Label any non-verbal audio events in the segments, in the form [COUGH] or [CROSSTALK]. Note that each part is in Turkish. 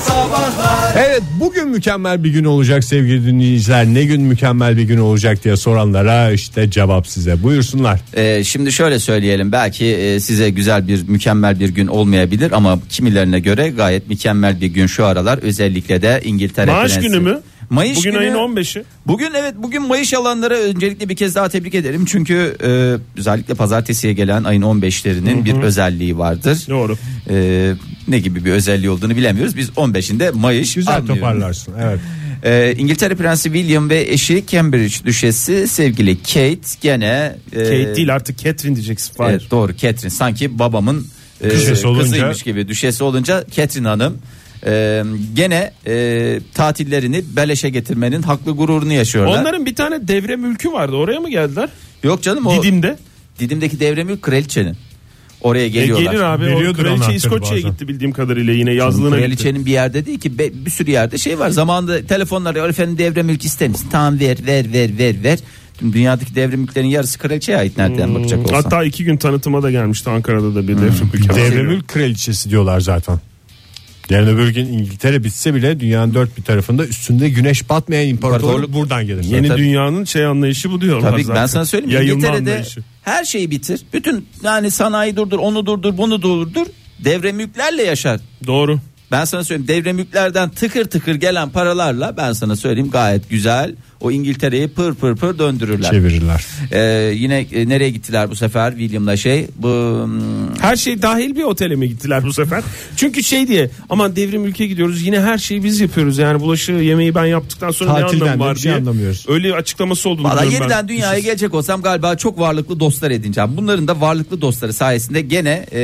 sabahlar Evet bugün mükemmel bir gün olacak sevgili dinleyiciler. Ne gün mükemmel bir gün olacak diye soranlara işte cevap size. Buyursunlar. Ee, şimdi şöyle söyleyelim belki e, size güzel bir mükemmel bir gün olmayabilir ama kimilerine göre gayet mükemmel bir gün şu aralar özellikle de İngiltere Maaş Prensi. günü mü? Mayış Bugün günü. ayın 15'i. Bugün evet bugün Mayış alanları öncelikle bir kez daha tebrik ederim. Çünkü e, özellikle pazartesiye gelen ayın 15'lerinin bir özelliği vardır. Doğru. E, ne gibi bir özelliği olduğunu bilemiyoruz. Biz 15'inde Mayış Güzel anlıyoruz. toparlarsın. Evet. E, İngiltere Prensi William ve eşi Cambridge Düşesi sevgili Kate gene e, Kate değil artık Catherine diyeceksin. Hayır. Evet, doğru Catherine sanki babamın e, Düşesi olunca- kızıymış gibi düşesi olunca Catherine Hanım e, gene e, tatillerini beleşe getirmenin haklı gururunu yaşıyorlar. Onların bir tane devre mülkü vardı. Oraya mı geldiler? Yok canım o Didim'de. Didim'deki devremi kraliçenin. Oraya E, geliyorlar. gelir abi. O Veriyordur kraliçe anahtarı İskoçya'ya bazen. gitti bildiğim kadarıyla yine yazlığına gitti. Hani Kraliçenin bir yerde değil ki be- bir sürü yerde şey var. Zamanında telefonlar ya, efendim devre mülk ister misin? Tamam ver ver ver ver ver. Şimdi dünyadaki devre mülklerin yarısı kraliçeye ait nereden bakacak olsan. Hmm, Hatta iki gün tanıtıma da gelmişti Ankara'da da bir Hmm. devre mülkü. Devremül kraliçesi diyorlar zaten. Yarın öbür gün İngiltere bitse bile dünyanın dört bir tarafında üstünde güneş batmayan imparatorluk İmparatorluk. buradan gelir. Yeni Tabii. dünyanın şey anlayışı bu diyorlar Tabii ki zaten. ben sana söyleyeyim. Yayılma İngiltere'de anlayışı. her şeyi bitir. Bütün yani sanayi durdur, onu durdur, bunu durdur. Devre mülklerle yaşar. Doğru. Ben sana söyleyeyim devre mülklerden tıkır tıkır gelen paralarla ben sana söyleyeyim gayet güzel o İngiltere'yi pır pır pır döndürürler. çevirirler. Ee, yine e, nereye gittiler bu sefer William'la şey bu hmm, Her şey dahil bir otele mi gittiler [LAUGHS] bu sefer? Çünkü şey diye aman devrim ülke gidiyoruz yine her şeyi biz yapıyoruz. Yani bulaşığı yemeği ben yaptıktan sonra Tatilden de ne anlamı var bir şey diye. anlamıyoruz. Öyle bir açıklaması olduğunu Valla biliyorum yeniden ben. dünyaya şey- gelecek olsam galiba çok varlıklı dostlar edineceğim. Bunların da varlıklı dostları sayesinde gene e,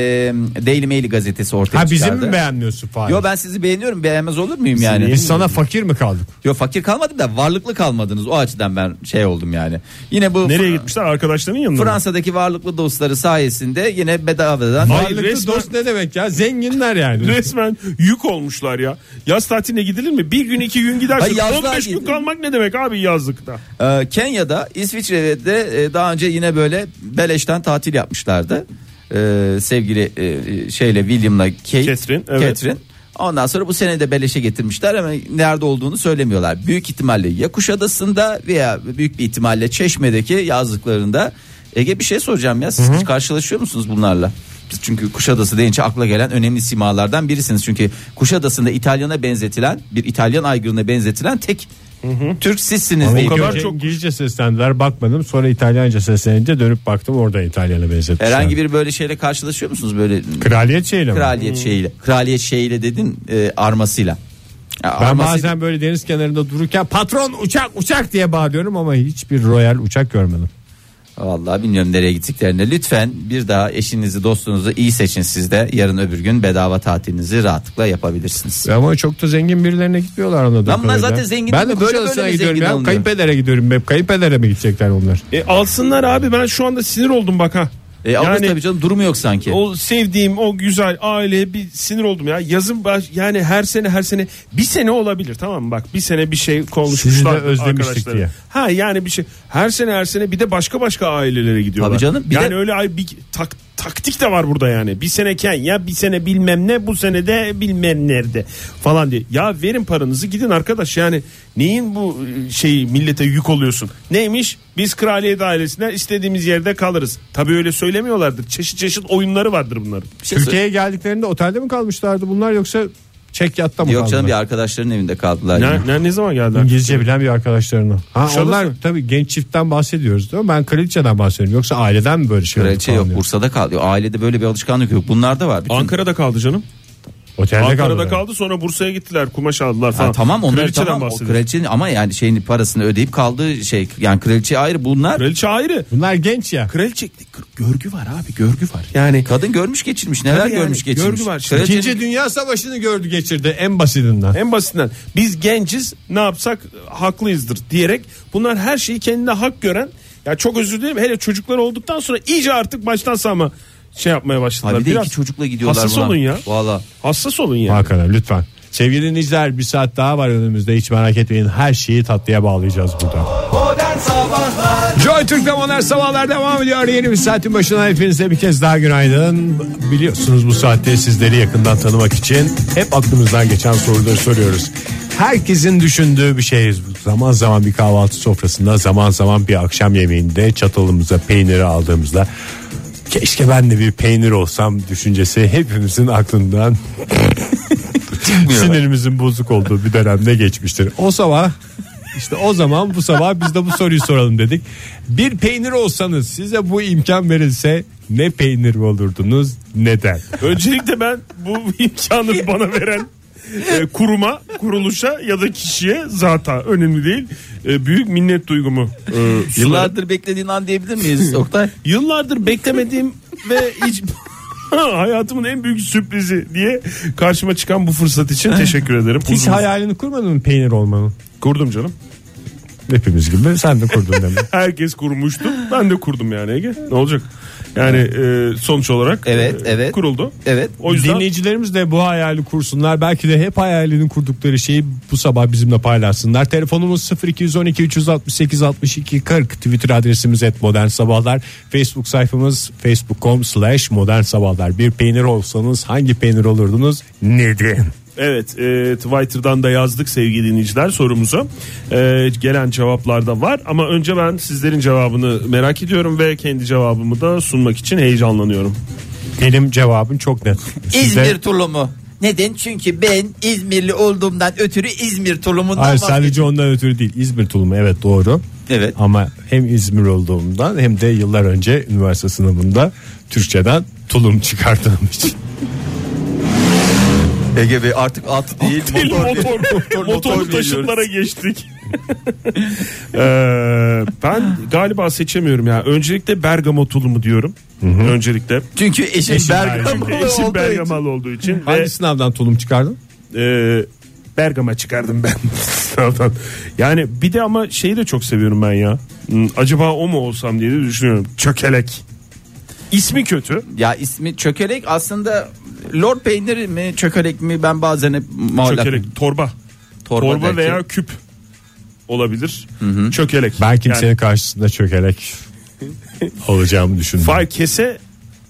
Daily Mail gazetesi ortaya Ha bizim çıkardı. mi beğenmiyorsun Fahir? Yo ben sizi beğeniyorum beğenmez olur muyum yani? Biz sana fakir mi kaldık? Yo fakir kalmadım da varlıklı kalmadınız. O açıdan ben şey oldum yani. Yine bu Nereye Fra- gitmişler arkadaşlarının yanına? mı? Fransa'daki varlıklı dostları sayesinde yine bedavadan Hayır, Varlıklı resmen- dost ne demek ya? Zenginler yani. Resmen yük olmuşlar ya. Yaz tatiline gidilir mi? Bir gün iki gün Hayır, gidersin. yazlığa 15 gün gidilir. kalmak ne demek abi yazlıkta? Ee, Kenya'da İsviçre'de e, daha önce yine böyle beleşten tatil yapmışlardı. Ee, sevgili e, şeyle William'la Kate, Catherine, evet. Catherine. Ondan sonra bu sene de beleşe getirmişler ama nerede olduğunu söylemiyorlar. Büyük ihtimalle ya Kuşadası'nda veya büyük bir ihtimalle Çeşme'deki yazlıklarında. Ege bir şey soracağım ya siz hiç karşılaşıyor musunuz bunlarla? Biz çünkü Kuşadası deyince akla gelen önemli simalardan birisiniz. Çünkü Kuşadası'nda İtalyan'a benzetilen bir İtalyan aygırına benzetilen tek Türk sizsiniz. Ama diye o kadar önce çok İngilizce seslendiler bakmadım sonra İtalyanca seslenince dönüp baktım orada İtalyana benzetmişler. Herhangi bir böyle şeyle karşılaşıyor musunuz böyle Kraliyet şeyle mi? kraliyet şeyiyle? Kraliyet şeyiyle dedin e, armasıyla. Ya Ben arması- bazen böyle deniz kenarında dururken patron uçak uçak diye bağırıyorum ama hiçbir royal uçak görmedim. Vallahi bilmiyorum nereye gittiklerini. Lütfen bir daha eşinizi, dostunuzu iyi seçin siz de. Yarın öbür gün bedava tatilinizi rahatlıkla yapabilirsiniz. Ama çok da zengin birilerine gitmiyorlar anladığım Lan bunlar kadarıyla. zaten zengin Ben değil de mi? böyle Kuşa böyle olsana mi gidiyorum zengin ya. alınıyor? Kayınpedere gidiyorum. Hep kayınpedere mi gidecekler onlar? E, alsınlar abi ben şu anda sinir oldum bak ha. E, ama tabii canım durumu yok sanki. O sevdiğim o güzel aileye bir sinir oldum ya. Yazın baş, yani her sene her sene bir sene olabilir tamam mı? Bak bir sene bir şey konuşmuşlar. Sizi de özlemiştik arkadaşlar. diye. Ha yani bir şey her sene her sene bir de başka başka ailelere gidiyorlar. Tabii canım, bir yani de- öyle ay- bir tak, taktik de var burada yani. Bir sene Kenya bir sene bilmem ne bu sene de bilmem nerede falan diye. Ya verin paranızı gidin arkadaş yani neyin bu e, şeyi millete yük oluyorsun. Neymiş biz kraliyet ailesinden istediğimiz yerde kalırız. Tabii öyle söylemiyorlardır. Çeşit çeşit oyunları vardır bunların. Bir şey Türkiye'ye geldiklerinde otelde mi kalmışlardı bunlar yoksa çek yatta mı söyle- Yok kaldılar? canım bir arkadaşların evinde kaldılar. yine. Ne, ne, ne zaman geldi? İngilizce bilen bir arkadaşlarını. Ha, Kuşadası. onlar tabii genç çiftten bahsediyoruz değil mi? Ben kraliçeden bahsediyorum. Yoksa aileden mi böyle şey oldu Kraliçe falan yok diyor. Bursa'da kaldı. Ailede böyle bir alışkanlık yok. Bunlarda var. Bütün- Ankara'da kaldı canım. Otelde Ankara'da kaldılar. kaldı sonra Bursa'ya gittiler kumaş aldılar Ha, falan. tamam onlar Kraliçeden tamam. O bahsediyor. kraliçenin ama yani şeyin parasını ödeyip kaldığı şey yani kraliçe ayrı bunlar. Kraliçe ayrı. Bunlar genç ya. Kraliçe görgü var abi görgü var. Yani Kadın görmüş geçirmiş neler Tabii yani, görmüş geçirmiş. görgü var şimdi. Kraliçenin- İkinci Dünya Savaşı'nı gördü geçirdi en basitinden. en basitinden biz genciz ne yapsak e, haklıyızdır diyerek bunlar her şeyi kendine hak gören ya çok özür dilerim hele çocuklar olduktan sonra iyice artık baştan sağma şey yapmaya başladılar. Ha bir de Biraz iki çocukla gidiyorlar hassas buna. olun ya. Valla. Hassas olun ya. Hakan'a lütfen. Sevgili dinleyiciler bir saat daha var önümüzde hiç merak etmeyin her şeyi tatlıya bağlayacağız burada. Modern Sabahlar Joy Türk'te modern sabahlar devam ediyor. Yeni bir saatin başına hepinize bir kez daha günaydın. Biliyorsunuz bu saatte sizleri yakından tanımak için hep aklımızdan geçen soruları soruyoruz. Herkesin düşündüğü bir şey. Zaman zaman bir kahvaltı sofrasında, zaman zaman bir akşam yemeğinde çatalımıza peyniri aldığımızda keşke ben de bir peynir olsam düşüncesi hepimizin aklından sinirimizin bozuk olduğu bir dönemde geçmiştir. O sabah işte o zaman bu sabah biz de bu soruyu soralım dedik. Bir peynir olsanız size bu imkan verilse ne peynir olurdunuz neden? Öncelikle ben bu [LAUGHS] imkanı bana veren e, kuruma, kuruluşa ya da kişiye zaten önemli değil. E, büyük minnet duygumu e, sunarım. Yıllardır beklediğin an diyebilir [LAUGHS] miyiz Oktay? [LAUGHS] Yıllardır beklemediğim ve hiç [LAUGHS] hayatımın en büyük sürprizi diye karşıma çıkan bu fırsat için teşekkür ederim. Hiç Uzun- hayalini kurmadın mı peynir olmanın? Kurdum canım. Hepimiz gibi sen de kurdun demek. Herkes kurmuştu. Ben de kurdum yani Ege. Ne olacak? Yani e, sonuç olarak Evet, e, evet. kuruldu. Evet. O yüzden Dinleyicilerimiz de bu hayali kursunlar. Belki de hep hayalini kurdukları şeyi bu sabah bizimle paylaşsınlar. Telefonumuz 0212 368 62 40. Twitter adresimiz et modern sabahlar. Facebook sayfamız facebook.com slash modern sabahlar. Bir peynir olsanız hangi peynir olurdunuz? Neden? Evet e, Twitter'dan da yazdık sevgili dinleyiciler sorumuzu. E, gelen cevaplar da var ama önce ben sizlerin cevabını merak ediyorum ve kendi cevabımı da sunmak için heyecanlanıyorum. Benim cevabım çok net. Size- İzmir tulumu. Neden? Çünkü ben İzmirli olduğumdan ötürü İzmir tulumundan Hayır vazgeçtim. sadece ondan ötürü değil. İzmir tulumu evet doğru. Evet. Ama hem İzmir olduğumdan hem de yıllar önce üniversite sınavında Türkçeden tulum çıkardığım için. Ege Bey artık [LAUGHS] at değil Değil, motor. motor, motor motorlu veriyoruz. taşıtlara geçtik. [LAUGHS] Ee, ben galiba seçemiyorum ya. Öncelikle Bergama tulumu diyorum. Öncelikle Çünkü eşim, Eşim Bergamalı eşim olduğu için. Bergamalı olduğu için ve, Hangi sınavdan tulum çıkardın? e, Bergama çıkardım ben [LAUGHS] sınavdan. Yani bir de ama şeyi de çok seviyorum ben ya. Hmm, Acaba o mu olsam diye de düşünüyorum. Çökelek. İsmi kötü. Ya ismi çökelek aslında lor peyniri mi çökelek mi ben bazen hep muallak. Çökelek torba. Torba, Torba, derken. veya küp olabilir. Çökelek. Ben Yani kimsenin karşısında [LAUGHS] çökerek olacağımı düşündüm. Fay kese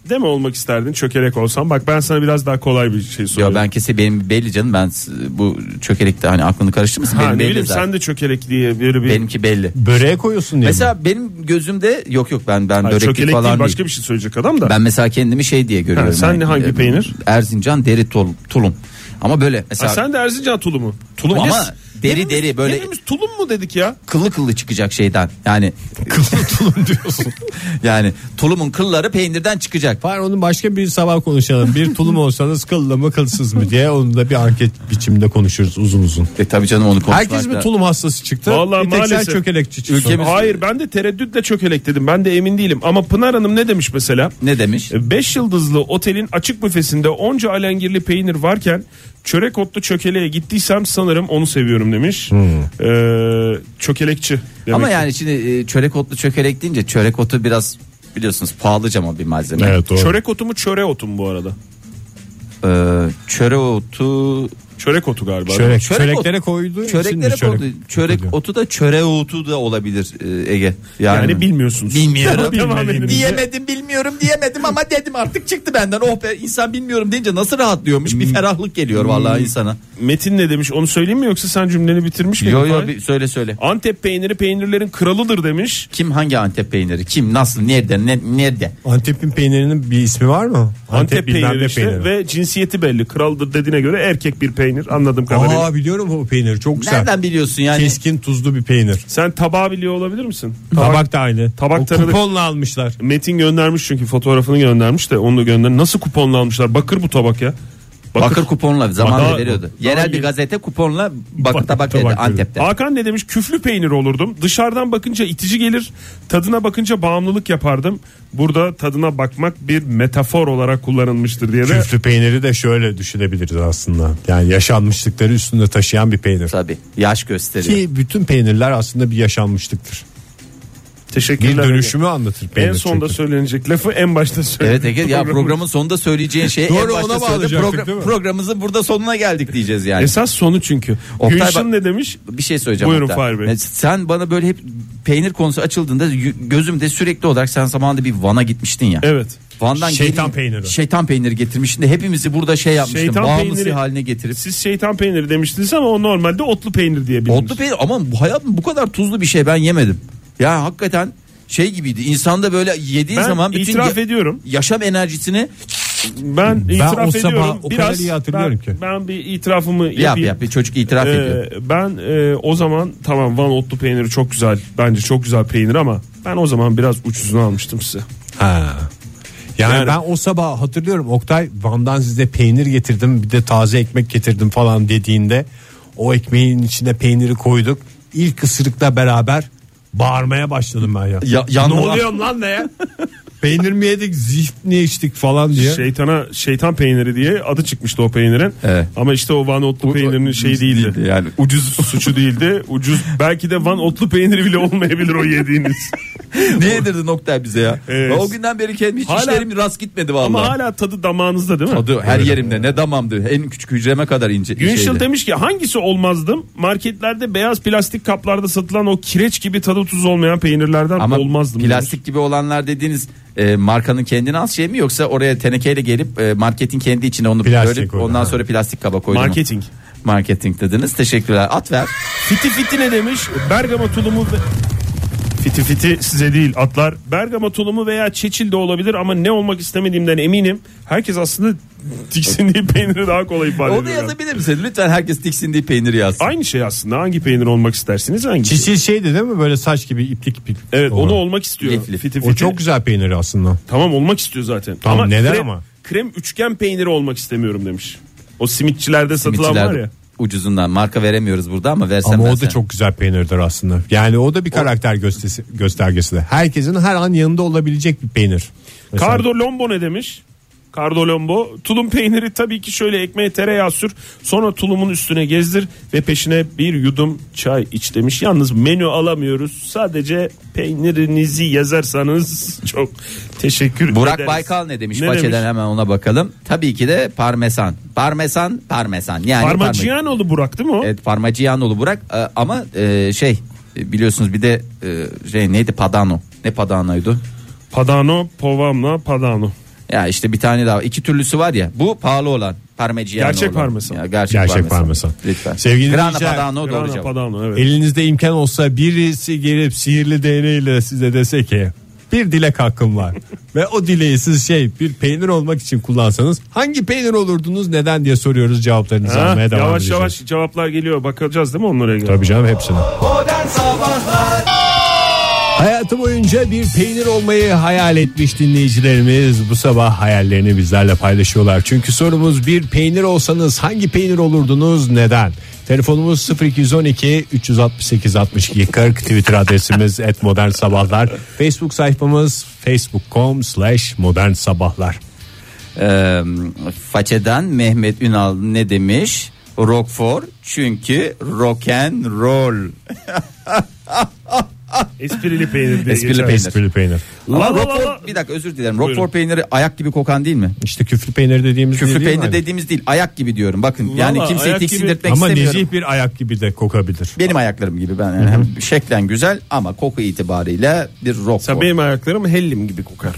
de mi olmak isterdin çökelek olsan? Bak ben sana biraz daha kolay bir şey soruyorum. Ya ben kesin benim belli canım ben s- bu çökelekte hani aklını karıştırmasın Ha, benim ne belli bileyim zaten. sen de çökelek diye böyle bir... Benimki belli. Böreğe koyuyorsun diye mi? Mesela benim gözümde yok yok ben ben Hayır, böreklik çökelek falan değil değil. başka bir şey söyleyecek adam da. Ben mesela kendimi şey diye görüyorum. Ha, sen ne, hangi Ee, peynir? Erzincan deri tul- tulum. Ama böyle Ha, mesela sen de Erzincan tulumu. Tulum Ama Hepimiz- deri hepimiz- deri böyle- Hepimiz tulum mu dedik ya? kıllı kıllı çıkacak şeyden. [LAUGHS] Yani Kıllı tulum diyorsun. [LAUGHS] yani tulumun kılları peynirden çıkacak. Var onun başka bir sabah konuşalım. Bir tulum olsanız kıllı mı kılsız mı diye onu da bir anket biçiminde konuşuruz uzun uzun. E tabii canım onu konuşmak Herkes mi da- tulum hastası çıktı? Vallahi bir tek sen maalesef. çökelekçi çıktın. Ülkemiz- Hayır ben de tereddütle çökelek dedim. Ben de emin değilim. Ama Pınar Hanım ne demiş mesela? Ne demiş? 5 yıldızlı otelin açık büfesinde onca alengirli peynir varken çörek otlu çökeleğe gittiysem sanırım onu seviyorum demiş. Ee, çökelekçi demek. Hmm. Ama yani şimdi e, çörek otlu çökelek deyince çörek otu biraz biliyorsunuz pahalıca ama bir malzeme. Evet doğru. Çörek otu mu çöre otu mu bu arada? Ee, çöre otu Çörek otu galiba. Çörek, Çörek çöreklere ot- koyduğu için çöreklere mi çörek- çörek, çörek otu da çöre otu da olabilir e, Ege. Yani [LAUGHS] bilmiyorsunuz. [LAUGHS] Bilmiyorum. Devam edin. şey. Diyemedim bilmiyorum diyemedim ama dedim artık çıktı benden. Oh be insan bilmiyorum deyince nasıl rahatlıyormuş bir ferahlık geliyor vallahi insana. Metin ne demiş onu söyleyeyim mi yoksa sen cümleni bitirmiş miydin? Yo yo Fahir? bir söyle söyle. Antep peyniri peynirlerin kralıdır demiş. Kim hangi Antep peyniri? Kim nasıl nerede ne, nerede? Antep'in peynirinin bir ismi var mı? Antep, bilmem peyniri ne işte peyniri. ve cinsiyeti belli. Kraldır dediğine göre erkek bir peynir anladığım kadarıyla. Aa biliyorum o peyniri çok güzel. Nereden biliyorsun yani? Keskin tuzlu bir peynir. Sen tabağı biliyor olabilir misin? Tabak, da aynı. tabak o tanıdık. kuponla almışlar. Metin göndermiş çünkü fotoğrafını göndermiş de onu da gönder. Nasıl kuponla almışlar? Bakır bu tabak ya. Bakır, kuponla zamanında Daha- veriyordu. daha Yerel bir iyi. gazete kuponla bakır tabak tabak verdi veriyordu. Antep'te. Hakan ne demiş? Küflü peynir olurdum. Dışarıdan bakınca itici gelir. Tadına bakınca bağımlılık yapardım. Burada tadına bakmak bir metafor olarak kullanılmıştır diye de. Küflü peyniri de şöyle düşünebiliriz aslında. Yani yaşanmışlıkları üstünde taşıyan bir peynir. Tabii yaş gösteriyor. Ki bütün peynirler aslında bir yaşanmışlıktır. Bir Teşekkürler. dönüşümü anlatır peynir. En sonda çünkü. söylenecek lafı en başta söyle. [LAUGHS] Evet Ege ya programın sonunda söyleyeceğin şeyi Doğru, en başta ona söyle. bağlayacaktık, Program- değil mi? programımızın burada sonuna geldik diyeceğiz yani. Esas sonu çünkü. Oktay Gülşin bak- ne demiş? bir şey söyleyeceğim. Buyurun hatta. Fahir Bey. Sen bana böyle hep peynir konusu açıldığında y- gözümde sürekli olarak sen zamanında bir Van'a gitmiştin ya. Evet. Van'dan Şeytan peyniri. Şeytan peyniri getirmiştin de hepimizi burada şey yapmıştın. Şeytan bağımlısı peyniri- haline getirip. Siz şeytan peyniri demiştiniz ama o normalde otlu peynir diye bilinir. Otlu peynir ama bu hayatım bu kadar tuzlu bir şey ben yemedim. Ya hakikaten şey gibiydi. İnsanda böyle yediği Ben zaman bütün itiraf ge- ediyorum. yaşam enerjisini Ben, itiraf o sabah ediyorum. o kadar Biraz iyi hatırlıyorum ben, ki. ben bir itirafımı yap yapayım. yap bir çocuk itiraf Ee, ediyor. ben e, o zaman tamam Van otlu peyniri çok güzel. Bence çok güzel peynir ama ben o zaman biraz ucuzunu almıştım size. Ha. Yani, Yani- ben o sabah hatırlıyorum Oktay Van'dan size peynir getirdim bir de taze ekmek getirdim falan dediğinde o ekmeğin içine peyniri koyduk. İlk ısırıkla beraber bağırmaya başladım ben ya. Ya- yandı ne lan. oluyorum lan [LAUGHS] ne ya? peynir mi yedik zift ne içtik falan diye. Şeytana şeytan peyniri diye adı çıkmıştı o peynirin. Evet. Ama işte o Van otlu peynirinin şeyi değildi. yani. Ucuz suçu değildi. Ucuz belki de Van otlu peyniri bile olmayabilir [LAUGHS] o yediğiniz. Niye yedirdin Oktay bize ya? Evet. O günden beri kendi hiç Hala- işlerim rast gitmedi vallahi. Ama hala tadı damağınızda değil mi? Tadı her yerimde ne damamdı en küçük hücreme kadar ince. Günşil şeydi. demiş ki hangisi olmazdım? Marketlerde beyaz plastik kaplarda satılan o kireç gibi tadı tuz olmayan peynirlerden Ama olmazdım. demiş. plastik gibi olanlar dediğiniz e, markanın kendine az şey mi yoksa oraya tenekeyle gelip e, marketin kendi içine onu Plastik bölüp koydu. ondan Ha. sonra plastik kaba koydu mu? Marketing. Marketing dediniz. Teşekkürler. At ver. Fiti fiti ne demiş? Bergama tulumu ve... Fiti fiti size değil atlar. Bergama tulumu veya çeçil de olabilir ama ne olmak istemediğimden eminim. Herkes aslında tiksindiği peyniri daha kolay ifade Onu ediyor. yazabilir misin? Lütfen herkes tiksindiği peyniri yazsın. Aynı şey aslında hangi peynir olmak istersiniz hangi? Çiçil şeydi değil mi böyle saç gibi iplik iplik. Evet olan. onu olmak istiyorum. Lif lif. Fiti O fiti. çok güzel peyniri aslında. Tamam olmak istiyor zaten. Tamam, neden krem, ama? Krem üçgen peyniri olmak istemiyorum demiş. O simitçilerde satılan Simitçiler var ya. Ucuzundan marka veremiyoruz burada ama versem Ama ben o da sana- çok güzel peynirdir aslında. Yani o da bir karakter göstergesi, göstergesi de. Herkesin her an yanında olabilecek bir peynir. Mesela- Cardolombo ne demiş? Cardolombo tulum peyniri tabii ki şöyle ekmeğe tereyağı sür sonra tulumun üstüne gezdir ve peşine bir yudum çay iç demiş. Yalnız menü alamıyoruz sadece peynirinizi yazarsanız [LAUGHS] çok teşekkür Burak ederiz. Baykal ne demiş? Ne Bahçeden demiş? hemen ona bakalım. Tabii ki de parmesan. Parmesan, parmesan. Yani parmesan. Parmaciyan oldu Burak değil mi o? Evet Parmacianoğlu Burak e, ama e, şey e, biliyorsunuz bir de e, şey neydi Padano. Ne Padano'ydu? Padano, Povamla, Padano. Ya işte bir tane daha iki türlüsü var ya. Bu pahalı olan Parmigiano. Gerçek olan. parmesan. Ya, gerçek, Gerçek parmesan. Lütfen. Sevgili Grana dinleyiciler, Padano Grana, doğru cevap. Padano evet. Elinizde imkan olsa birisi gelip sihirli değneğiyle size dese ki bir dilek hakkım [LAUGHS] var ve o dileği siz şey bir peynir olmak için kullansanız hangi peynir olurdunuz neden diye soruyoruz cevaplarınızı Ha, almaya devam yavaş edeceğiz. yavaş cevaplar geliyor bakacağız değil mi onlara göre? Tabii canım hepsine. Hayatı boyunca bir peynir olmayı hayal etmiş dinleyicilerimiz bu sabah hayallerini bizlerle paylaşıyorlar. Çünkü sorumuz bir peynir olsanız hangi peynir olurdunuz neden? Telefonumuz 0212 368 62 40 Twitter adresimiz [LAUGHS] @modernsabahlar. Facebook sayfamız facebook.com slash modern sabahlar. Ee, façeden Mehmet Ünal ne demiş? Rockfor çünkü rock and roll. Esprili peynir diye Esprili geçer. peynir. Esprili peynir. La la Ama la Roquefort- la. bir dakika özür dilerim. Buyurun. Rockfor peyniri ayak gibi kokan değil mi? İşte küflü peynir dediğimiz Küflü değil mi? peynir dediğimiz değil. Ayak gibi diyorum. Bakın yani Vallahi kimseyi ayak gibi- tiksindirtmek Ama istemiyorum. nezih bir ayak gibi de kokabilir. Benim ayaklarım gibi ben yani hem şeklen güzel ama koku itibariyle bir Mesela rockfor. benim ayaklarım hellim gibi kokar.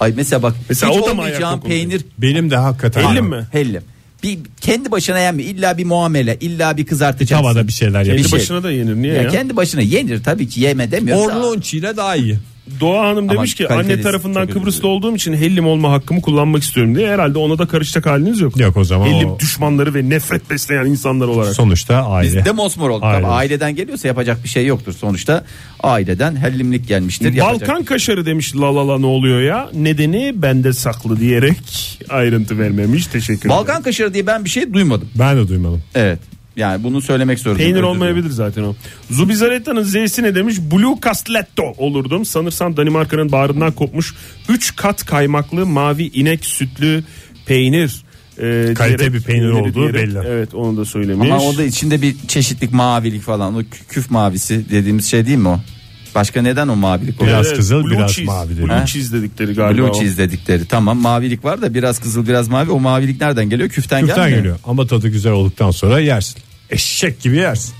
Ay mesela bak Mesela hiç o da mı olmayacağım ayak kokulu? peynir Benim de hakikaten. Hellim mi? hellim. Bir kendi başına yenme. İlla bir muamele, illa bir kızartacaksın. Tavada bir şeyler Kendi yapıyor. şey. başına da yenir niye Ya ya? kendi başına yenir tabii ki yeme demiyoruz. ama- ile daha iyi. Doğa Hanım demiş ki kaliteli- anne tarafından çok özür Kıbrıslı olduğum için hellim olma hakkımı kullanmak istiyorum diye herhalde ona da karışacak haliniz yok. Yok o zaman Hellim o- düşmanları ve nefret besleyen insanlar olarak. Sonuçta aile. Biz de mosmor olduk. Aile. Tabii aileden geliyorsa yapacak bir şey yoktur sonuçta. Aileden hellimlik gelmiştir. yapacak- Balkan kaşarı demiş la la la ne oluyor ya? Nedeni bende saklı diyerek ayrıntı vermemiş. Teşekkür ederim. Balkan kaşarı diye ben bir şey duymadım. Ben de duymadım. Evet. Yani bunu söylemek zorundayım. Peynir Özür olmayabilir zaten o. Zubizaretta'nın Z'si ne demiş? Blue Castletto olurdum. Sanırsam Danimarka'nın bağrından kopmuş 3 kat kaymaklı mavi inek sütlü peynir. e, bir diyerek- peynir peyniri olduğu diyerek- belli. Evet onu da söylemiş. dilerim. Ama o da içinde bir çeşitlik mavilik falan. O kü- küf mavisi dediğimiz şey değil mi o? Başka neden o mavilik? O? Biraz kızıl, blue biraz cheese. mavi dedi. Blue Ha? cheese dedikleri galiba. Blue o. cheese dedikleri. Tamam mavilik var da biraz kızıl biraz mavi. O mavilik nereden geliyor? Küften, Küften gelmiyor. geliyor ama tadı güzel olduktan sonra yersin. Eşek gibi yersin.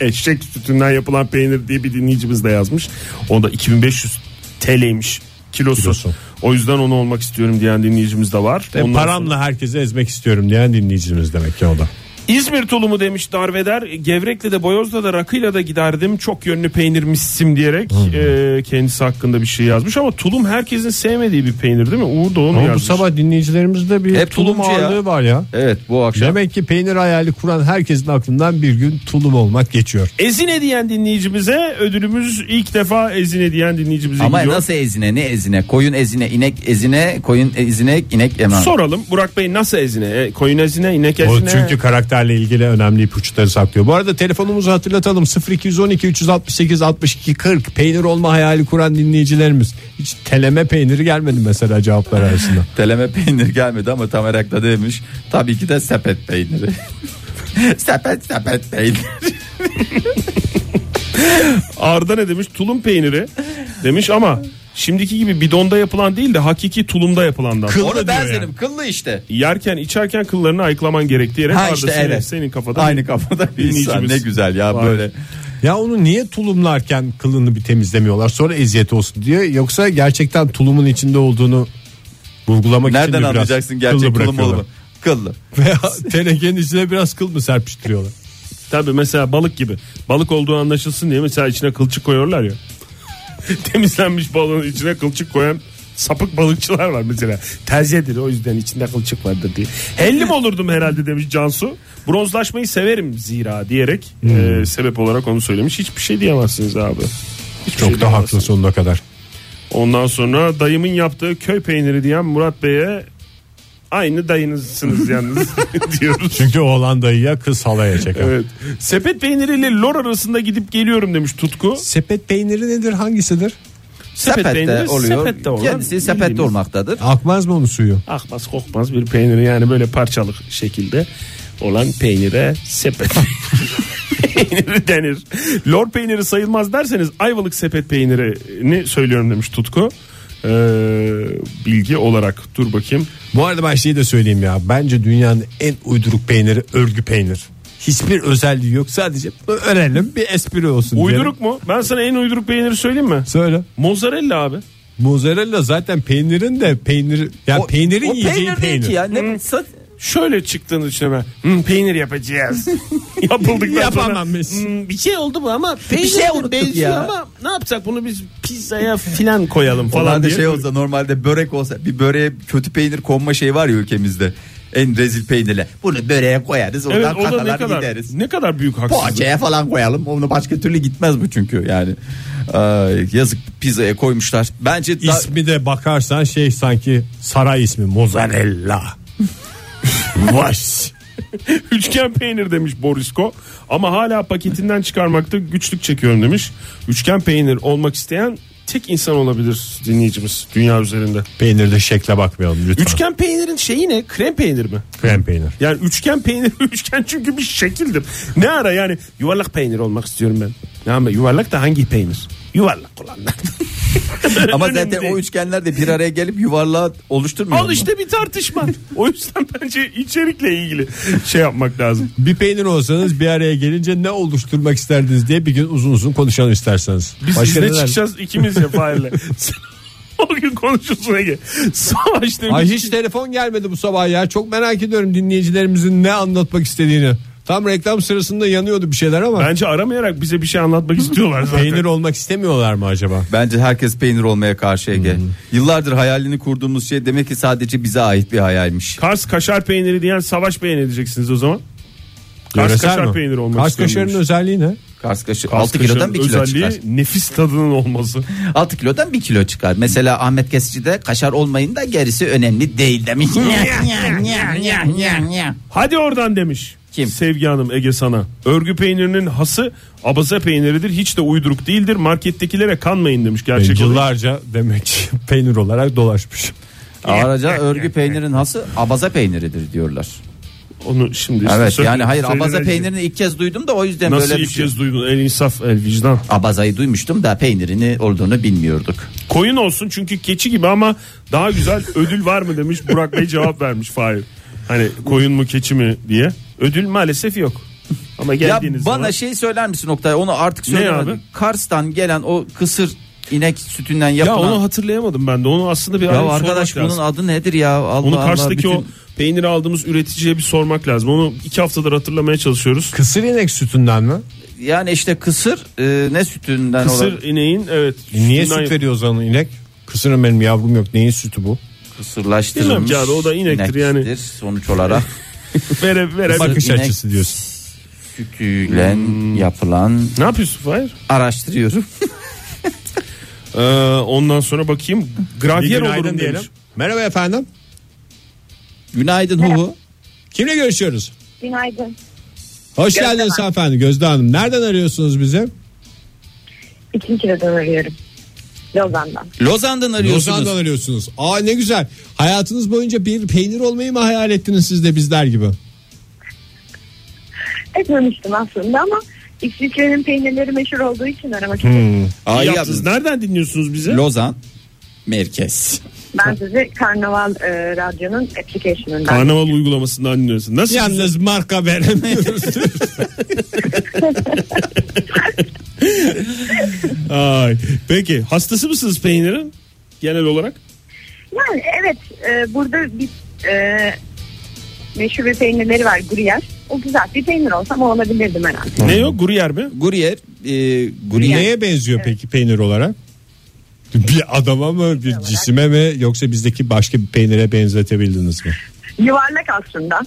Eşek sütünden yapılan peynir diye bir dinleyicimiz de yazmış. O da 2500 TL'ymiş kilosu. Kilosu. O yüzden onu olmak istiyorum diyen dinleyicimiz de var. E, Ondan paramla herkesi ezmek istiyorum diyen dinleyicimiz demek ki o da. İzmir tulumu demiş Darveder. Gevrek'le de Boyoz'la da rakıyla da giderdim. Çok yönlü peynirmişsim diyerek e, kendisi hakkında bir şey yazmış. Ama tulum herkesin sevmediği bir peynir değil mi? Uğur da onu Ama bu yazmış. sabah dinleyicilerimizde bir Hep tulum tulumcu ya. ağırlığı var ya. Evet bu akşam. Demek ki peynir hayali kuran herkesin aklından bir gün tulum olmak geçiyor. Ezine diyen dinleyicimize ödülümüz ilk defa ezine diyen dinleyicimize Ama gidiyor. nasıl ezine ne ezine koyun ezine inek ezine koyun ezine inek eman. Soralım Burak Bey nasıl ezine? E, Koyun ezine, inek ezine. O çünkü karakterle ilgili önemli ipuçları saklıyor. Bu arada telefonumuzu hatırlatalım. 0212 368 62 40 peynir olma hayali kuran dinleyicilerimiz. Hiç teleme peyniri gelmedi mesela cevaplar arasında. Teleme peynir gelmedi ama tam olarak da demiş. Tabii ki de sepet peyniri. [LAUGHS] sepet sepet peynir. Arda ne demiş? Tulum peyniri demiş ama şimdiki gibi bidonda yapılan değil de hakiki tulumda yapılandan. Kıl- Kıllı Onu ben diyor senin yani. kıllı işte. Yerken içerken kıllarını ayıklaman gerek diyerek Ha Arda işte senin, evet. senin kafada Aynı kafada bir insan dinleyicimiz ne güzel ya var. böyle. [LAUGHS] Ya onu niye tulumlarken kılını bir temizlemiyorlar sonra eziyet olsun diye yoksa gerçekten tulumun içinde olduğunu vurgulamak için Nereden mi biraz anlayacaksın kıllı gerçek kılım bırakıyorlar? olumu? Kıllı. [LAUGHS] Veya tenekenin içine biraz kıl mı serpiştiriyorlar? Tabii mesela balık gibi. Balık olduğu anlaşılsın diye mesela içine kılçık koyuyorlar ya. [LAUGHS] Temizlenmiş balığın içine kılçık koyan sapık balıkçılar var mesela. Terziyedir o yüzden içinde kılçık vardır diye. Hellim olurdum herhalde demiş Cansu. Bronzlaşmayı severim zira diyerek Hmm. e, sebep olarak onu söylemiş. Hiçbir şey diyemezsiniz abi. Hiçbir şey Çok da diyemezsiniz. haklısın sonuna kadar. Ondan sonra dayımın yaptığı köy peyniri diyen Murat Bey'e aynı dayınızsınız yalnız diyoruz. Çünkü oğlan dayıya kız halaya çeker. Evet. Sepet peyniriyle lor arasında gidip geliyorum demiş Tutku. Sepet peyniri nedir hangisidir? Sepette peyniri oluyor. sepette olan Kendisi sepette bildiğimiz- olmaktadır. Akmaz mı onun suyu? Akmaz kokmaz bir peyniri yani böyle parçalık şekilde olan peynire sepet peyniri denir. Lor peyniri sayılmaz derseniz Ayvalık sepet peynirini söylüyorum demiş Tutku. Ee, bilgi olarak dur bakayım. Bu arada ben şeyi de söyleyeyim ya. Bence dünyanın en uyduruk peyniri örgü peynir. Hiçbir özelliği yok. Sadece örelim bir espri olsun. diyelim. Uyduruk mu? Ben sana en uyduruk peyniri söyleyeyim mi? Söyle. Mozzarella abi. Mozzarella zaten peynirin de peynir ya O- peynirin o yiyeceği peynir peynir. değil ki ya. Ne, sat- Şöyle çıktığın içine ben "Hmm, [LAUGHS] peynir yapacağız. Yapıldıktan Yapamam sonra. biz. "Hmm, bir şey oldu bu ama peynir şey de unuttuk benziyor ya." ama ne yapsak bunu biz pizzaya filan koyalım Falan falan da diye. şey olsa normalde börek olsa bir böreğe kötü peynir konma şey var ya ülkemizde. En rezil peynirle. Bunu böreğe koyarız evet oradan o da ne kakalar kadar gideriz. ne kadar büyük haksızlık. Poğaçaya falan koyalım. Onu başka türlü gitmez bu çünkü yani. Ay, yazık pizzaya koymuşlar. Bence da- İsmi de bakarsan şey sanki saray [LAUGHS] ismi mozzarella. Vaş. [LAUGHS] Üçgen peynir demiş Borisko ama hala paketinden çıkarmakta güçlük çekiyorum demiş. Üçgen peynir olmak isteyen tek insan olabilir dinleyicimiz dünya üzerinde. Peynirde şekle bakmayalım lütfen. Üçgen peynirin şeyi ne? Krem peynir mi? Krem peynir. Yani üçgen peynir [LAUGHS] üçgen çünkü bir şekildir. Ne ara yani yuvarlak peynir olmak istiyorum ben. Ne ama yuvarlak da hangi peynir? Yuvarlak [LAUGHS] olanlar. ama önemli zaten değil. o üçgenler de bir araya gelip yuvarlığa oluşturmuyor. Al mu? işte bir tartışma. O yüzden bence içerikle ilgili şey yapmak lazım. Bir peynir olsanız bir araya gelince ne oluşturmak isterdiniz diye bir gün uzun uzun konuşalım isterseniz. Biz Başka izne neler- çıkacağız ikimiz ya Fahir'le. [LAUGHS] Sen o gün konuşursun Ege. Savaş demiş. Ay hiç telefon gelmedi bu sabah ya. Çok merak ediyorum dinleyicilerimizin ne anlatmak istediğini. Tam reklam sırasında yanıyordu bir şeyler ama Bence aramayarak bize bir şey anlatmak istiyorlar zaten. peynir olmak istemiyorlar mı acaba? Bence herkes peynir olmaya karşı Ege. Yıllardır hayalini kurduğumuz şey demek ki sadece bize ait bir hayalmiş. Kars kaşar peyniri diyen savaş peyniri diyeceksiniz o zaman. Kars Yöresel kaşar mi? peyniri olmak Kars istiyorum kaşarının demiş. özelliği ne? Kars kaşı Kars 6 kilodan kaşarının 1 kilo özelliği çıkar. nefis tadının olması. 6 kilodan 1 kilo çıkar. Mesela Ahmet Kesici'de kaşar olmayın da gerisi önemli değil demiş. [LAUGHS] Hadi oradan demiş. Kim? Sevgi Hanım Ege sana. Örgü peynirinin hası abaza peyniridir. Hiç de uyduruk değildir. Markettekilere kanmayın demiş gerçek. olan. Yıllarca demek ki [LAUGHS] peynir olarak dolaşmış. Araca örgü peynirin hası abaza peyniridir diyorlar. Onu şimdi işte Evet söyle- yani hayır abaza söylenecek. peynirini ilk kez duydum da o yüzden Nasıl böyle bir ilk şey. kez duydun el insaf el vicdan. Abazayı duymuştum da peynirini olduğunu bilmiyorduk. Koyun olsun çünkü keçi gibi ama daha güzel [LAUGHS] ödül var mı demiş Burak Bey cevap vermiş Fahir. Hani koyun mu keçi mi diye. Ödül maalesef yok. Ama Ya geldiğiniz bana zaman şey söyler misin Oktay? Onu artık Ne abi? söyle. Kars'tan gelen o kısır inek sütünden ya yapılan. onu hatırlayamadım ben de. Onu aslında bir Ya arayıp arkadaş sormak bunun lazım. adı nedir ya? Allah Onu Allah, karşıdaki bütün- o peyniri aldığımız üreticiye bir sormak lazım. Onu iki haftadır hatırlamaya çalışıyoruz. Kısır inek sütünden mi? yani işte kısır e, ne sütünden Kısır olan ineğin evet. E, Niye sütünden- süt veriyor o zaman inek? Kısırın benim yavrum yok. Neyin sütü bu? kısırlaştırılmış. Bilmem ki abi, o da inektir yani. sonuç [LAUGHS] olarak. Vere, vere- Bak- Bakış inek- açısı diyorsun. Sütüyle Hmm. yapılan Ne yapıyorsun Fahir? araştırıyorum. Ee, ondan sonra bakayım. Gravyer olurum diyelim. Merhaba efendim. Günaydın [LAUGHS] Huhu. Kimle görüşüyoruz? Günaydın. Hoş Gözde geldiniz hanımefendi Gözde Hanım. Nereden arıyorsunuz bizi? İkinci kilodan arıyorum. Lozan'dan. Lozan'dan arıyorsunuz. Lozan'dan arıyorsunuz. Aa ne güzel. Hayatınız boyunca bir peynir olmayı mı hayal ettiniz siz de bizler gibi? Etmemiştim E, aslında ama İsviçre'nin peynirleri meşhur olduğu için aramak istedim. Aa, iyi Yaptınız. yaptınız. Nereden dinliyorsunuz bizi? Lozan merkez. Ben sizi Karnaval e, Radyo'nun application'ından. Karnaval uygulamasından dinliyorsun. Nasıl? Yalnız marka [LAUGHS] veremiyoruz. Ay. Peki hastası mısınız peynirin? Genel olarak. Yani evet e, burada bir e, meşhur bir peynirleri var Gruyère. O güzel bir peynir olsa o olabilirdim herhalde. Ne yok? Gruyer mi? Gurier, e, Gurier Neye benziyor peki peynir olarak? Bir adama mı, bir cisime mi yoksa bizdeki başka bir peynire benzetebildiniz mi? Yuvarlak aslında.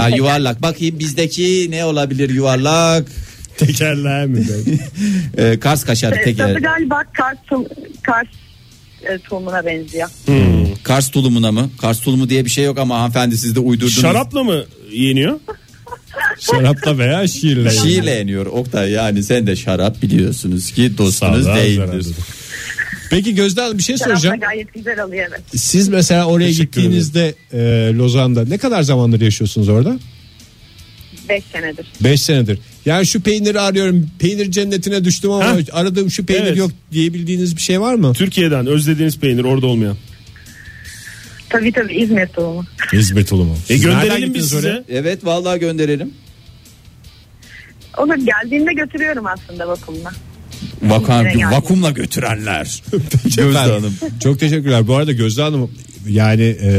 ha yuvarlak. Bakayım bizdeki ne olabilir yuvarlak? Tekerler mi? E, Kars kaşarı E, Tadı teker. galiba Kars, tul- Kars e, tulumuna benziyor. Kars tulumuna mı? Kars tulumu diye bir şey yok ama hanımefendi siz de uydurdunuz. Şarapla mı yeniyor? [LAUGHS] Şarapla veya şiirle. Şiirle yeniyor Oktay yani sen de şarap biliyorsunuz ki Sağlığa dostunuz zararlıdır. değildir. Peki Gözde Hanım bir şey Şarapla soracağım. gayet güzel alıyor evet. Siz mesela oraya Teşekkür gittiğinizde e, Lozan'da ne kadar zamandır yaşıyorsunuz orada? 5 senedir. 5 senedir. Yani şu peyniri arıyorum. Peynir cennetine düştüm ama Ha? aradığım şu peynir Evet. yok diyebildiğiniz bir şey var mı? Türkiye'den özlediğiniz peynir orada olmayan. E, Tabii tabii İzmir tulumu. İzmir tulumu. E Siz nereden gönderelim gittiniz biz size. oraya? Evet vallahi gönderelim. Onu geldiğinde götürüyorum aslında bakımla. Vakan, Yine geldi. vakumla götürenler. Gözde Efendim, Hanım. Çok teşekkürler. Bu arada Gözde Hanım yani e,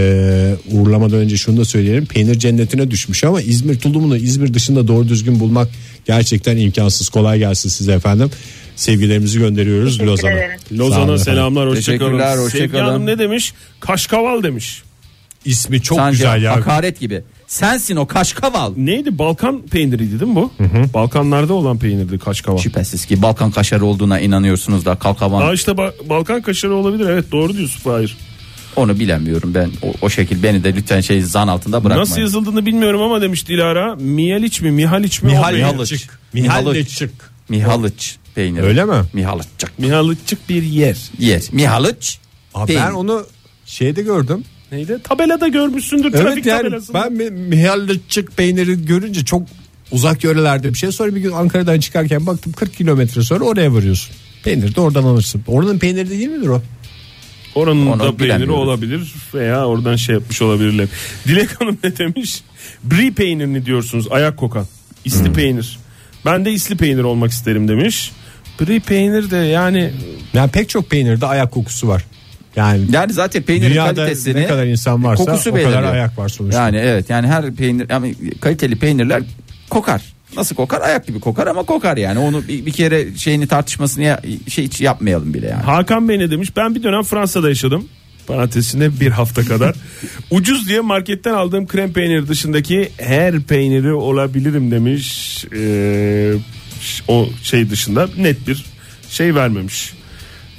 uğurlamadan önce şunu da söyleyelim. Peynir cennetine düşmüş ama İzmir tulumunu İzmir dışında doğru düzgün bulmak gerçekten imkansız. Kolay gelsin size efendim. Sevgilerimizi gönderiyoruz Teşekkür Lozan'a. ederim. Sağ olun Lozan'a efendim. selamlar hoşçakalın. Teşekkürler, hoşça Sevgi kalın. Hanım ne demiş? Kaşkaval demiş. İsmi çok Sanki güzel ya. Hakaret gibi. Sensin o kaşkaval. Neydi? Balkan peyniriydi değil mi bu? Balkanlarda olan peynirdi kaşkaval. Şüphesiz ki Balkan kaşarı olduğuna inanıyorsunuz da kalkavan Aa işte ba- Balkan kaşarı olabilir. Evet doğru diyorsun Fahir. onu bilemiyorum ben o, o şekil beni de lütfen şey zan altında bırakmayın. Nasıl yazıldığını bilmiyorum ama demiş Dilara. Mihaliç mi? Mihaliç mi? O Mihal, peynir. Mihalıç. Mihalçık. Mihalıç peyniri. Öyle mi? Mihalıççık. Mihalıççık bir yer. Yer. Mihalıç. Aa, peynir. ben onu şeyde gördüm. Neydi? Tabelada görmüşsündür trafik Evet yani tabelasında. ben mi- Mihalçık peyniri görünce çok uzak yörelerde bir şey. Sonra bir gün Ankara'dan çıkarken baktım 40 kilometre sonra oraya varıyorsun. Peynir de oradan alırsın. Oranın peyniri değil midir o? Oranın Onu da peyniri bilemiyoruz. olabilir veya oradan şey yapmış olabilirler. Dilek Hanım ne demiş? Brie peynirini diyorsunuz ayak kokan. İsli Hmm. peynir. Ben de isli peynir olmak isterim demiş. Brie peynir de yani Yani pek çok peynirde ayak kokusu var. Yani Yani zaten peynirin dünyada kalitesini e, ne kadar insan varsa kokusu o kadar belirliyor. ayak var sonuçta. Yani evet yani her peynir yani kaliteli peynirler kokar. Nasıl kokar? Ayak gibi kokar ama kokar yani. Onu bir, bir kere şeyini tartışmasını ya- şey hiç yapmayalım bile yani. Hakan Bey ne demiş? Ben bir dönem Fransa'da yaşadım. Parantezinde bir hafta [LAUGHS] kadar. Ucuz diye marketten aldığım krem peyniri dışındaki her peyniri olabilirim demiş. Ee, ş- o şey dışında net bir şey vermemiş.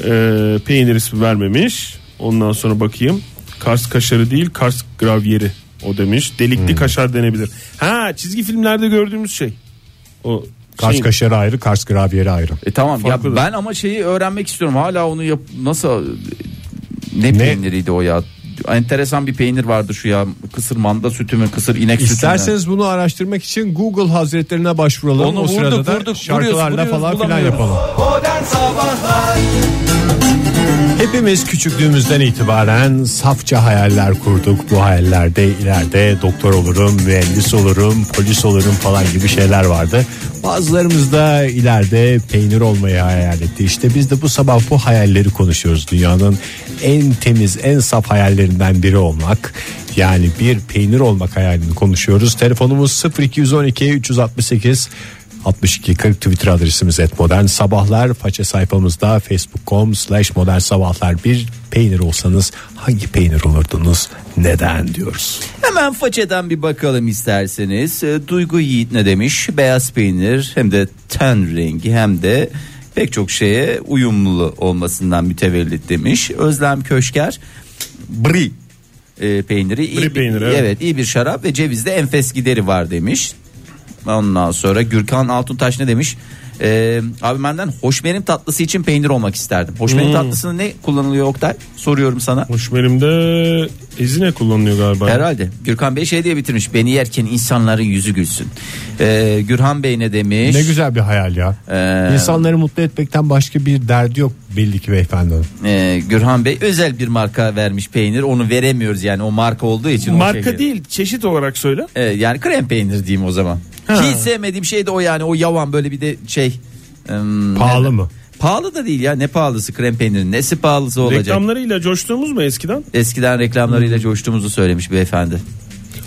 Ee, peynir ismi vermemiş. Ondan sonra bakayım. Kars kaşarı değil Kars gravyeri o demiş. Delikli kaşar denebilir. Ha çizgi filmlerde gördüğümüz şey. O Kars şey- şeyin- kaşarı ayrı, Kars gravyeri ayrı. E tamam Farklıdır. ya ben ama şeyi öğrenmek istiyorum. Hala onu yap nasıl ne, Ne? peyniriydi o ya? Enteresan bir peynir vardı şu ya. Kısır manda sütü mü, kısır inek sütü mü? İsterseniz bunu araştırmak için Google hazretlerine başvuralım. Onu o sırada vurduk, da vurduk, şarkılarla vuruyoruz, vuruyoruz, falan filan bulamıyoruz. yapalım. Modern Sabahlar Hepimiz küçüklüğümüzden itibaren safça hayaller kurduk. Bu hayallerde ileride doktor olurum, mühendis olurum, polis olurum falan gibi şeyler vardı. Bazılarımız da ileride peynir olmayı hayal etti. İşte biz de bu sabah bu hayalleri konuşuyoruz. Dünyanın en temiz, en saf hayallerinden biri olmak. Yani bir peynir olmak hayalini konuşuyoruz. Telefonumuz 0212 368 62 40 Twitter adresimiz et modern sabahlar faça sayfamızda facebook.com slash modern sabahlar bir peynir olsanız hangi peynir olurdunuz neden diyoruz. Hemen façeden bir bakalım isterseniz. E, Duygu Yiğit ne demiş? Beyaz peynir hem de ten rengi hem de pek çok şeye uyumlu olmasından mütevellit demiş. Özlem Köşker bri e, peyniri iyi Brie bir- peyniri, evet. evet. iyi bir şarap ve cevizde enfes gideri var demiş. Ondan sonra Gürkan Altuntaş ne demiş? E, abi benden hoşmerim tatlısı için peynir olmak isterdim. Hoşmerim tatlısında ne kullanılıyor Oktay? Soruyorum sana. Hoş benim de ezine kullanılıyor galiba. Herhalde. Gürkan Bey şey diye bitirmiş. Beni yerken insanların yüzü gülsün. Ee, Gürhan Bey ne demiş? Ne güzel bir hayal ya. Ee, İnsanları mutlu etmekten başka bir derdi yok belli ki beyefendi. hanım. Ee, Gürhan Bey özel bir marka vermiş peynir. Onu veremiyoruz yani o marka olduğu için. o Marka şekilde. değil çeşit olarak söyle. Ee, yani krem peynir diyeyim o zaman. Hiç sevmediğim şey de o yani o yavan böyle bir de şey. ım, Pahalı ne- mı? Pahalı da değil ya ne pahalısı krem peynirin nesi pahalısı olacak. Reklamlarıyla coştuğumuz mu eskiden? Eskiden reklamlarıyla coştuğumuzu söylemiş beyefendi.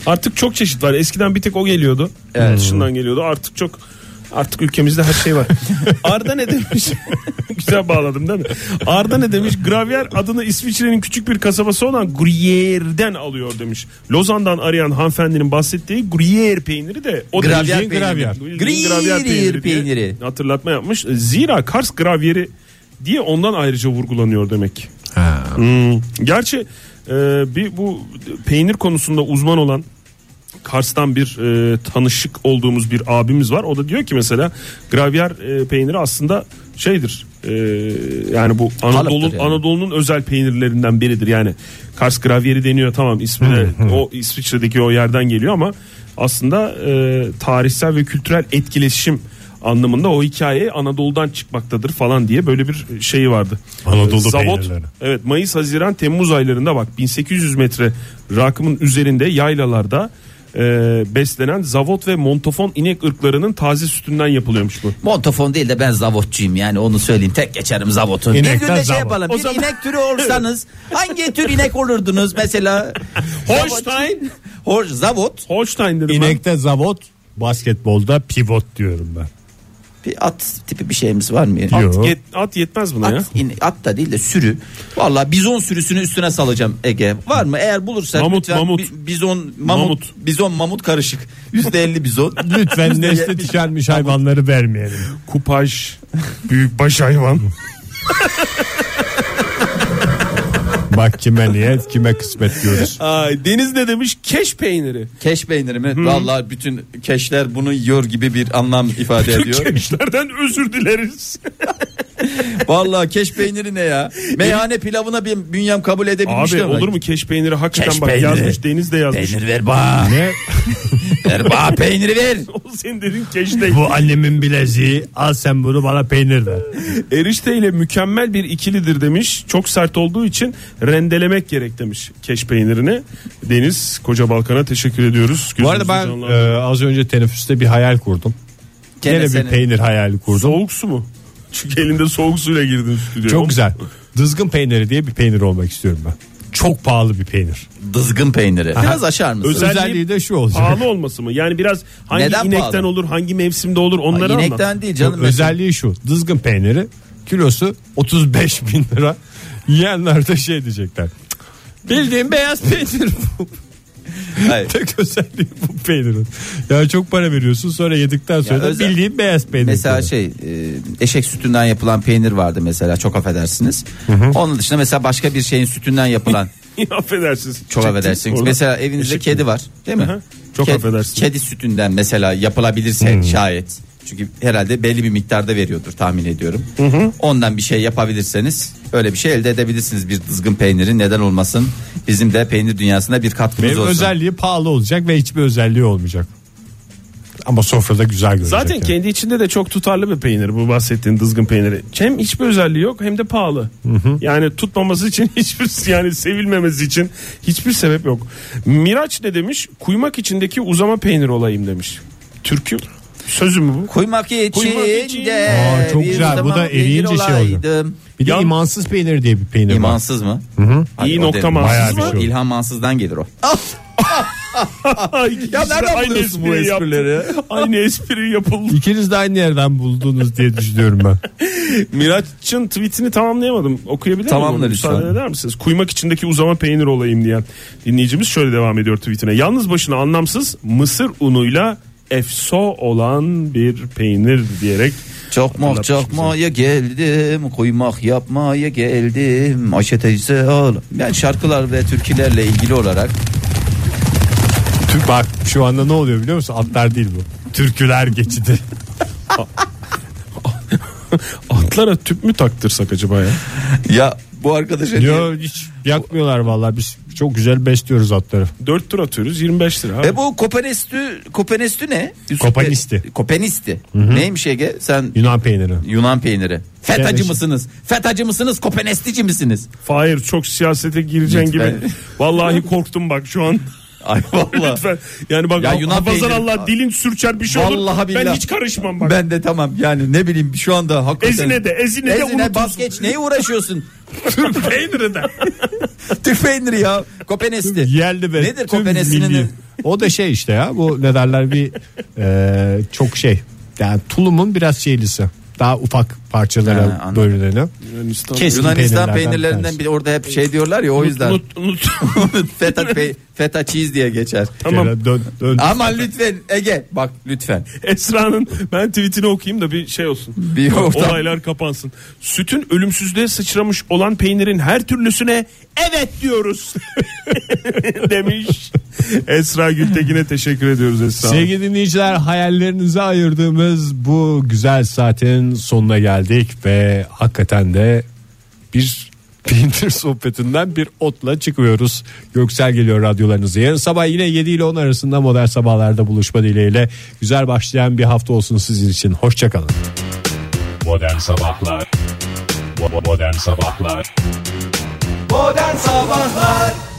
Artık çok çeşit var. Eskiden bir tek o geliyordu. Evet. Evet. Dışından geliyordu. Artık çok artık ülkemizde her [LAUGHS] şey var. Arda ne demiş? [LAUGHS] Güzel bağladım değil mi? Arda ne demiş? Gravyer adını İsviçre'nin küçük bir kasabası olan Gruyère'den alıyor demiş. Lozan'dan arayan hanımefendinin bahsettiği Gruyère peyniri de o da Gravyer bildiğin peyniri. Bildiğin Gruyère diye peyniri. Hatırlatma yapmış. Zira Kars Gravyeri diye ondan ayrıca vurgulanıyor demek. Ha. Hmm. Gerçi e, bir bu peynir konusunda uzman olan Kars'tan bir e, tanışık olduğumuz bir abimiz var. O da diyor ki mesela gravyer e, peyniri aslında şeydir. e, yani bu Anadolu yani. Anadolu'nun özel peynirlerinden biridir. Yani Kars gravyeri deniyor tamam ismi de o İsviçre'deki o yerden geliyor ama aslında e, tarihsel ve kültürel etkileşim anlamında o hikaye Anadolu'dan çıkmaktadır falan diye böyle bir şeyi vardı. Anadolu Zavot, peynirleri. Ee, Evet Mayıs, Haziran, Temmuz aylarında bak 1800 metre rakımın üzerinde yaylalarda e, beslenen zavot ve montofon inek ırklarının taze sütünden yapılıyormuş bu. Montofon değil de ben zavotçuyum yani onu söyleyeyim tek geçerim zavotu. bir İnekten gün de şey zavot. yapalım O bir zaman- inek türü [LAUGHS] olsanız hangi tür inek olurdunuz mesela? Holstein. Hor, zavot Holstein dedim İnekte zavot basketbolda pivot diyorum ben. bir at tipi bir şeyimiz var mı? ben. Yok. At, yet- at yetmez buna ya. At, in- at da değil de sürü. Vallahi bizon sürüsünü üstüne salacağım Ege. Var mı? Eğer bulursak Mamut, lütfen mamut. bi- bizon mamut, bizon mamut karışık. %50 [LAUGHS] bizon. Lütfen Yüzde nesli yetmiş. tükenmiş hayvanları vermeyelim. Kupaj, büyük baş hayvan. Bak kime niyet kime kısmet [LAUGHS] diyoruz. Ay, Deniz ne demiş? Keş peyniri. Keş peyniri mi? Vallahi bütün keşler bunu yiyor gibi bir anlam ifade ediyor. Keşlerden özür dileriz. Vallahi keş peyniri ne ya? Meyhane pilavına bir bünyem kabul edebilmiş. Abi de. olur mu keş peyniri hakikaten Keş bak peyniri. yazmış Deniz de yazmış. Peynir ver ba. Ne? ver ba peyniri ver. [LAUGHS] O senin dediğin keş değil. Bu annemin bileziği al sen bunu bana peynir ver. Erişte ile mükemmel bir ikilidir demiş. Çok sert olduğu için rendelemek gerek demiş keş peynirini. Deniz Koca Balkan'a teşekkür ediyoruz. Bu arada ben Gözünüzü canlandı. e, az önce teneffüste bir hayal kurdum. Gene Gene bir senin- peynir hayali kurdum. soğuk su mu? Çünkü elinde soğuk suyla girdin [LAUGHS] stüdyoya. Çok güzel. Dızgın peyniri diye bir peynir olmak istiyorum ben. Çok pahalı bir peynir. Dızgın peyniri. Biraz aşar mısın? Özel- Özelliği, Özelliği- de şu olacak. Pahalı olması mı? Yani biraz hangi Neden inekten pahalı? olur, hangi mevsimde olur onları Ay, anlat. inekten [LAUGHS] değil canım. Yok, özelliği şu. Dızgın peyniri kilosu 35 bin lira. Yiyenler de şey diyecekler. "Cık, Bildiğin beyaz peynir [LAUGHS] bu. [LAUGHS] Hayır. Tek özelliği bu peynirin. Yani çok para veriyorsun sonra yedikten sonra Ya da özel- bildiğin beyaz peynir. Mesela diyorlar. şey e, eşek sütünden yapılan peynir vardı mesela çok affedersiniz. Onun dışında mesela başka bir şeyin sütünden yapılan affedersiniz. çok Çektim affedersiniz. orada. Mesela evinizde Eşek kedi mi? var değil mi? Hı hı. Çok Ke- affedersiniz. Hmm. Kedi sütünden mesela yapılabilirse şayet. Çünkü herhalde belli bir miktarda veriyordur tahmin ediyorum. Ondan bir şey yapabilirseniz öyle bir şey elde edebilirsiniz bir dızgın peynirin neden olmasın. Bizim de peynir dünyasına bir katkımız Benim olsun. özelliği pahalı olacak ve hiçbir özelliği olmayacak. ama sofrada güzel görünecek. Zaten yani. kendi içinde de çok tutarlı bir peynir bu bahsettiğin dızgın peyniri. Hem hiçbir özelliği yok hem de pahalı. Yani tutmaması için [LAUGHS] hiçbir yani sevilmemesi için hiçbir sebep yok. Miraç ne demiş? Kuymak içindeki uzama peynir olayım demiş. Türkü sözü mü bu? Kuymak içinde Aa, çok bir güzel. Bu da zaman eriyince bir şey oldu. olaydım. Bir de Yan- imansız peynir diye bir peynir var. İmansız mı? Hayır, İyi o nokta demek. mansız Bayağı bir mı? şey oldu. İlhan Mansız'dan gelir o. Ay, Ya işte nereden aynı buluyorsun bu espriyi yaptım. esprileri? Aynı espri yapıldı. İkiniz de aynı yerden buldunuz diye düşünüyorum ben. [LAUGHS] Miraç'ın tweetini tamamlayamadım. Okuyabilir miyim? Tamamla onu? lütfen. Müsaade eder misiniz? Kuymak içindeki uzama peynir olayım diyen dinleyicimiz şöyle devam ediyor tweetine. Yalnız başına anlamsız mısır unuyla efso olan bir peynir diyerek Çok mu Hatırlatmış çok mu ya geldim kuymak yapmaya geldim Ayşe teyze al. Ben şarkılar ve türkülerle ilgili olarak [LAUGHS] Türk bak şu anda ne oluyor biliyor musun? Atlar değil bu. Türküler geçidi. atlara tüp mü taktırsak acaba ya? [LAUGHS] ya bu arkadaşa Yo hiç yakmıyorlar vallahi biz çok güzel besliyoruz atları. 4 tur atıyoruz 25 lira. abi. E bu Kopenestü Kopenestü ne? Yusuf Kopenisti. Bey- Kopenisti. Neymiş Ege? Sen Yunan peyniri. Yunan peyniri. Fetacı Kardeşim. mısınız? Fetacı mısınız? Kopenestici misiniz? Fahir çok siyasete gireceğin Lütfen. gibi. Vallahi korktum bak [LAUGHS] şu an. [LAUGHS] Ay vallahi. Lütfen. Yani bak Ya ya Yunan peyniri- Allah dilin sürçer bir şey Vallahi olur. Ben billahi. hiç karışmam bak. Ben de tamam yani ne bileyim şu anda hakikaten. Ezine de, ezine de unutursun. bas geç neye [LAUGHS] uğraşıyorsun? Peyniri de. Türk peyniri ya. Kopenesti. Yerli ve Nedir tüm milli. Kopenesti'nin? O da şey işte ya bu ne derler bir e, çok şey. Yani tulumun biraz şeylisi. Daha ufak Ha, parçalara anladım. bölüneni. Keskin Yunanistan peynirlerden bir peynirlerinden tanesi. bir orada hep şey diyorlar ya o yüzden. Unut, unut. [LAUGHS] feta, pe- feta cheese diye geçer. Tamam. Şöyle Dön, dön. Aman lütfen Ege bak lütfen. [LAUGHS] Esra'nın ben tweetini okuyayım da bir şey olsun. Bir ortam- Olaylar kapansın. Sütün ölümsüzlüğe sıçramış olan peynirin her türlüsüne evet diyoruz. [LAUGHS] Demiş. Esra Gültekin'e teşekkür ediyoruz Esra. Hanım. Sevgili dinleyiciler hayallerinize ayırdığımız bu güzel saatin sonuna geldik ve hakikaten de bir [LAUGHS] peynir sohbetinden bir otla çıkıyoruz. Göksel geliyor radyolarınızı. Yarın sabah yine 7 ile 10 arasında modern sabahlarda buluşma dileğiyle. Güzel başlayan bir hafta olsun sizin için. Hoşçakalın. Modern Sabahlar Bo- bo- Modern Sabahlar Modern Sabahlar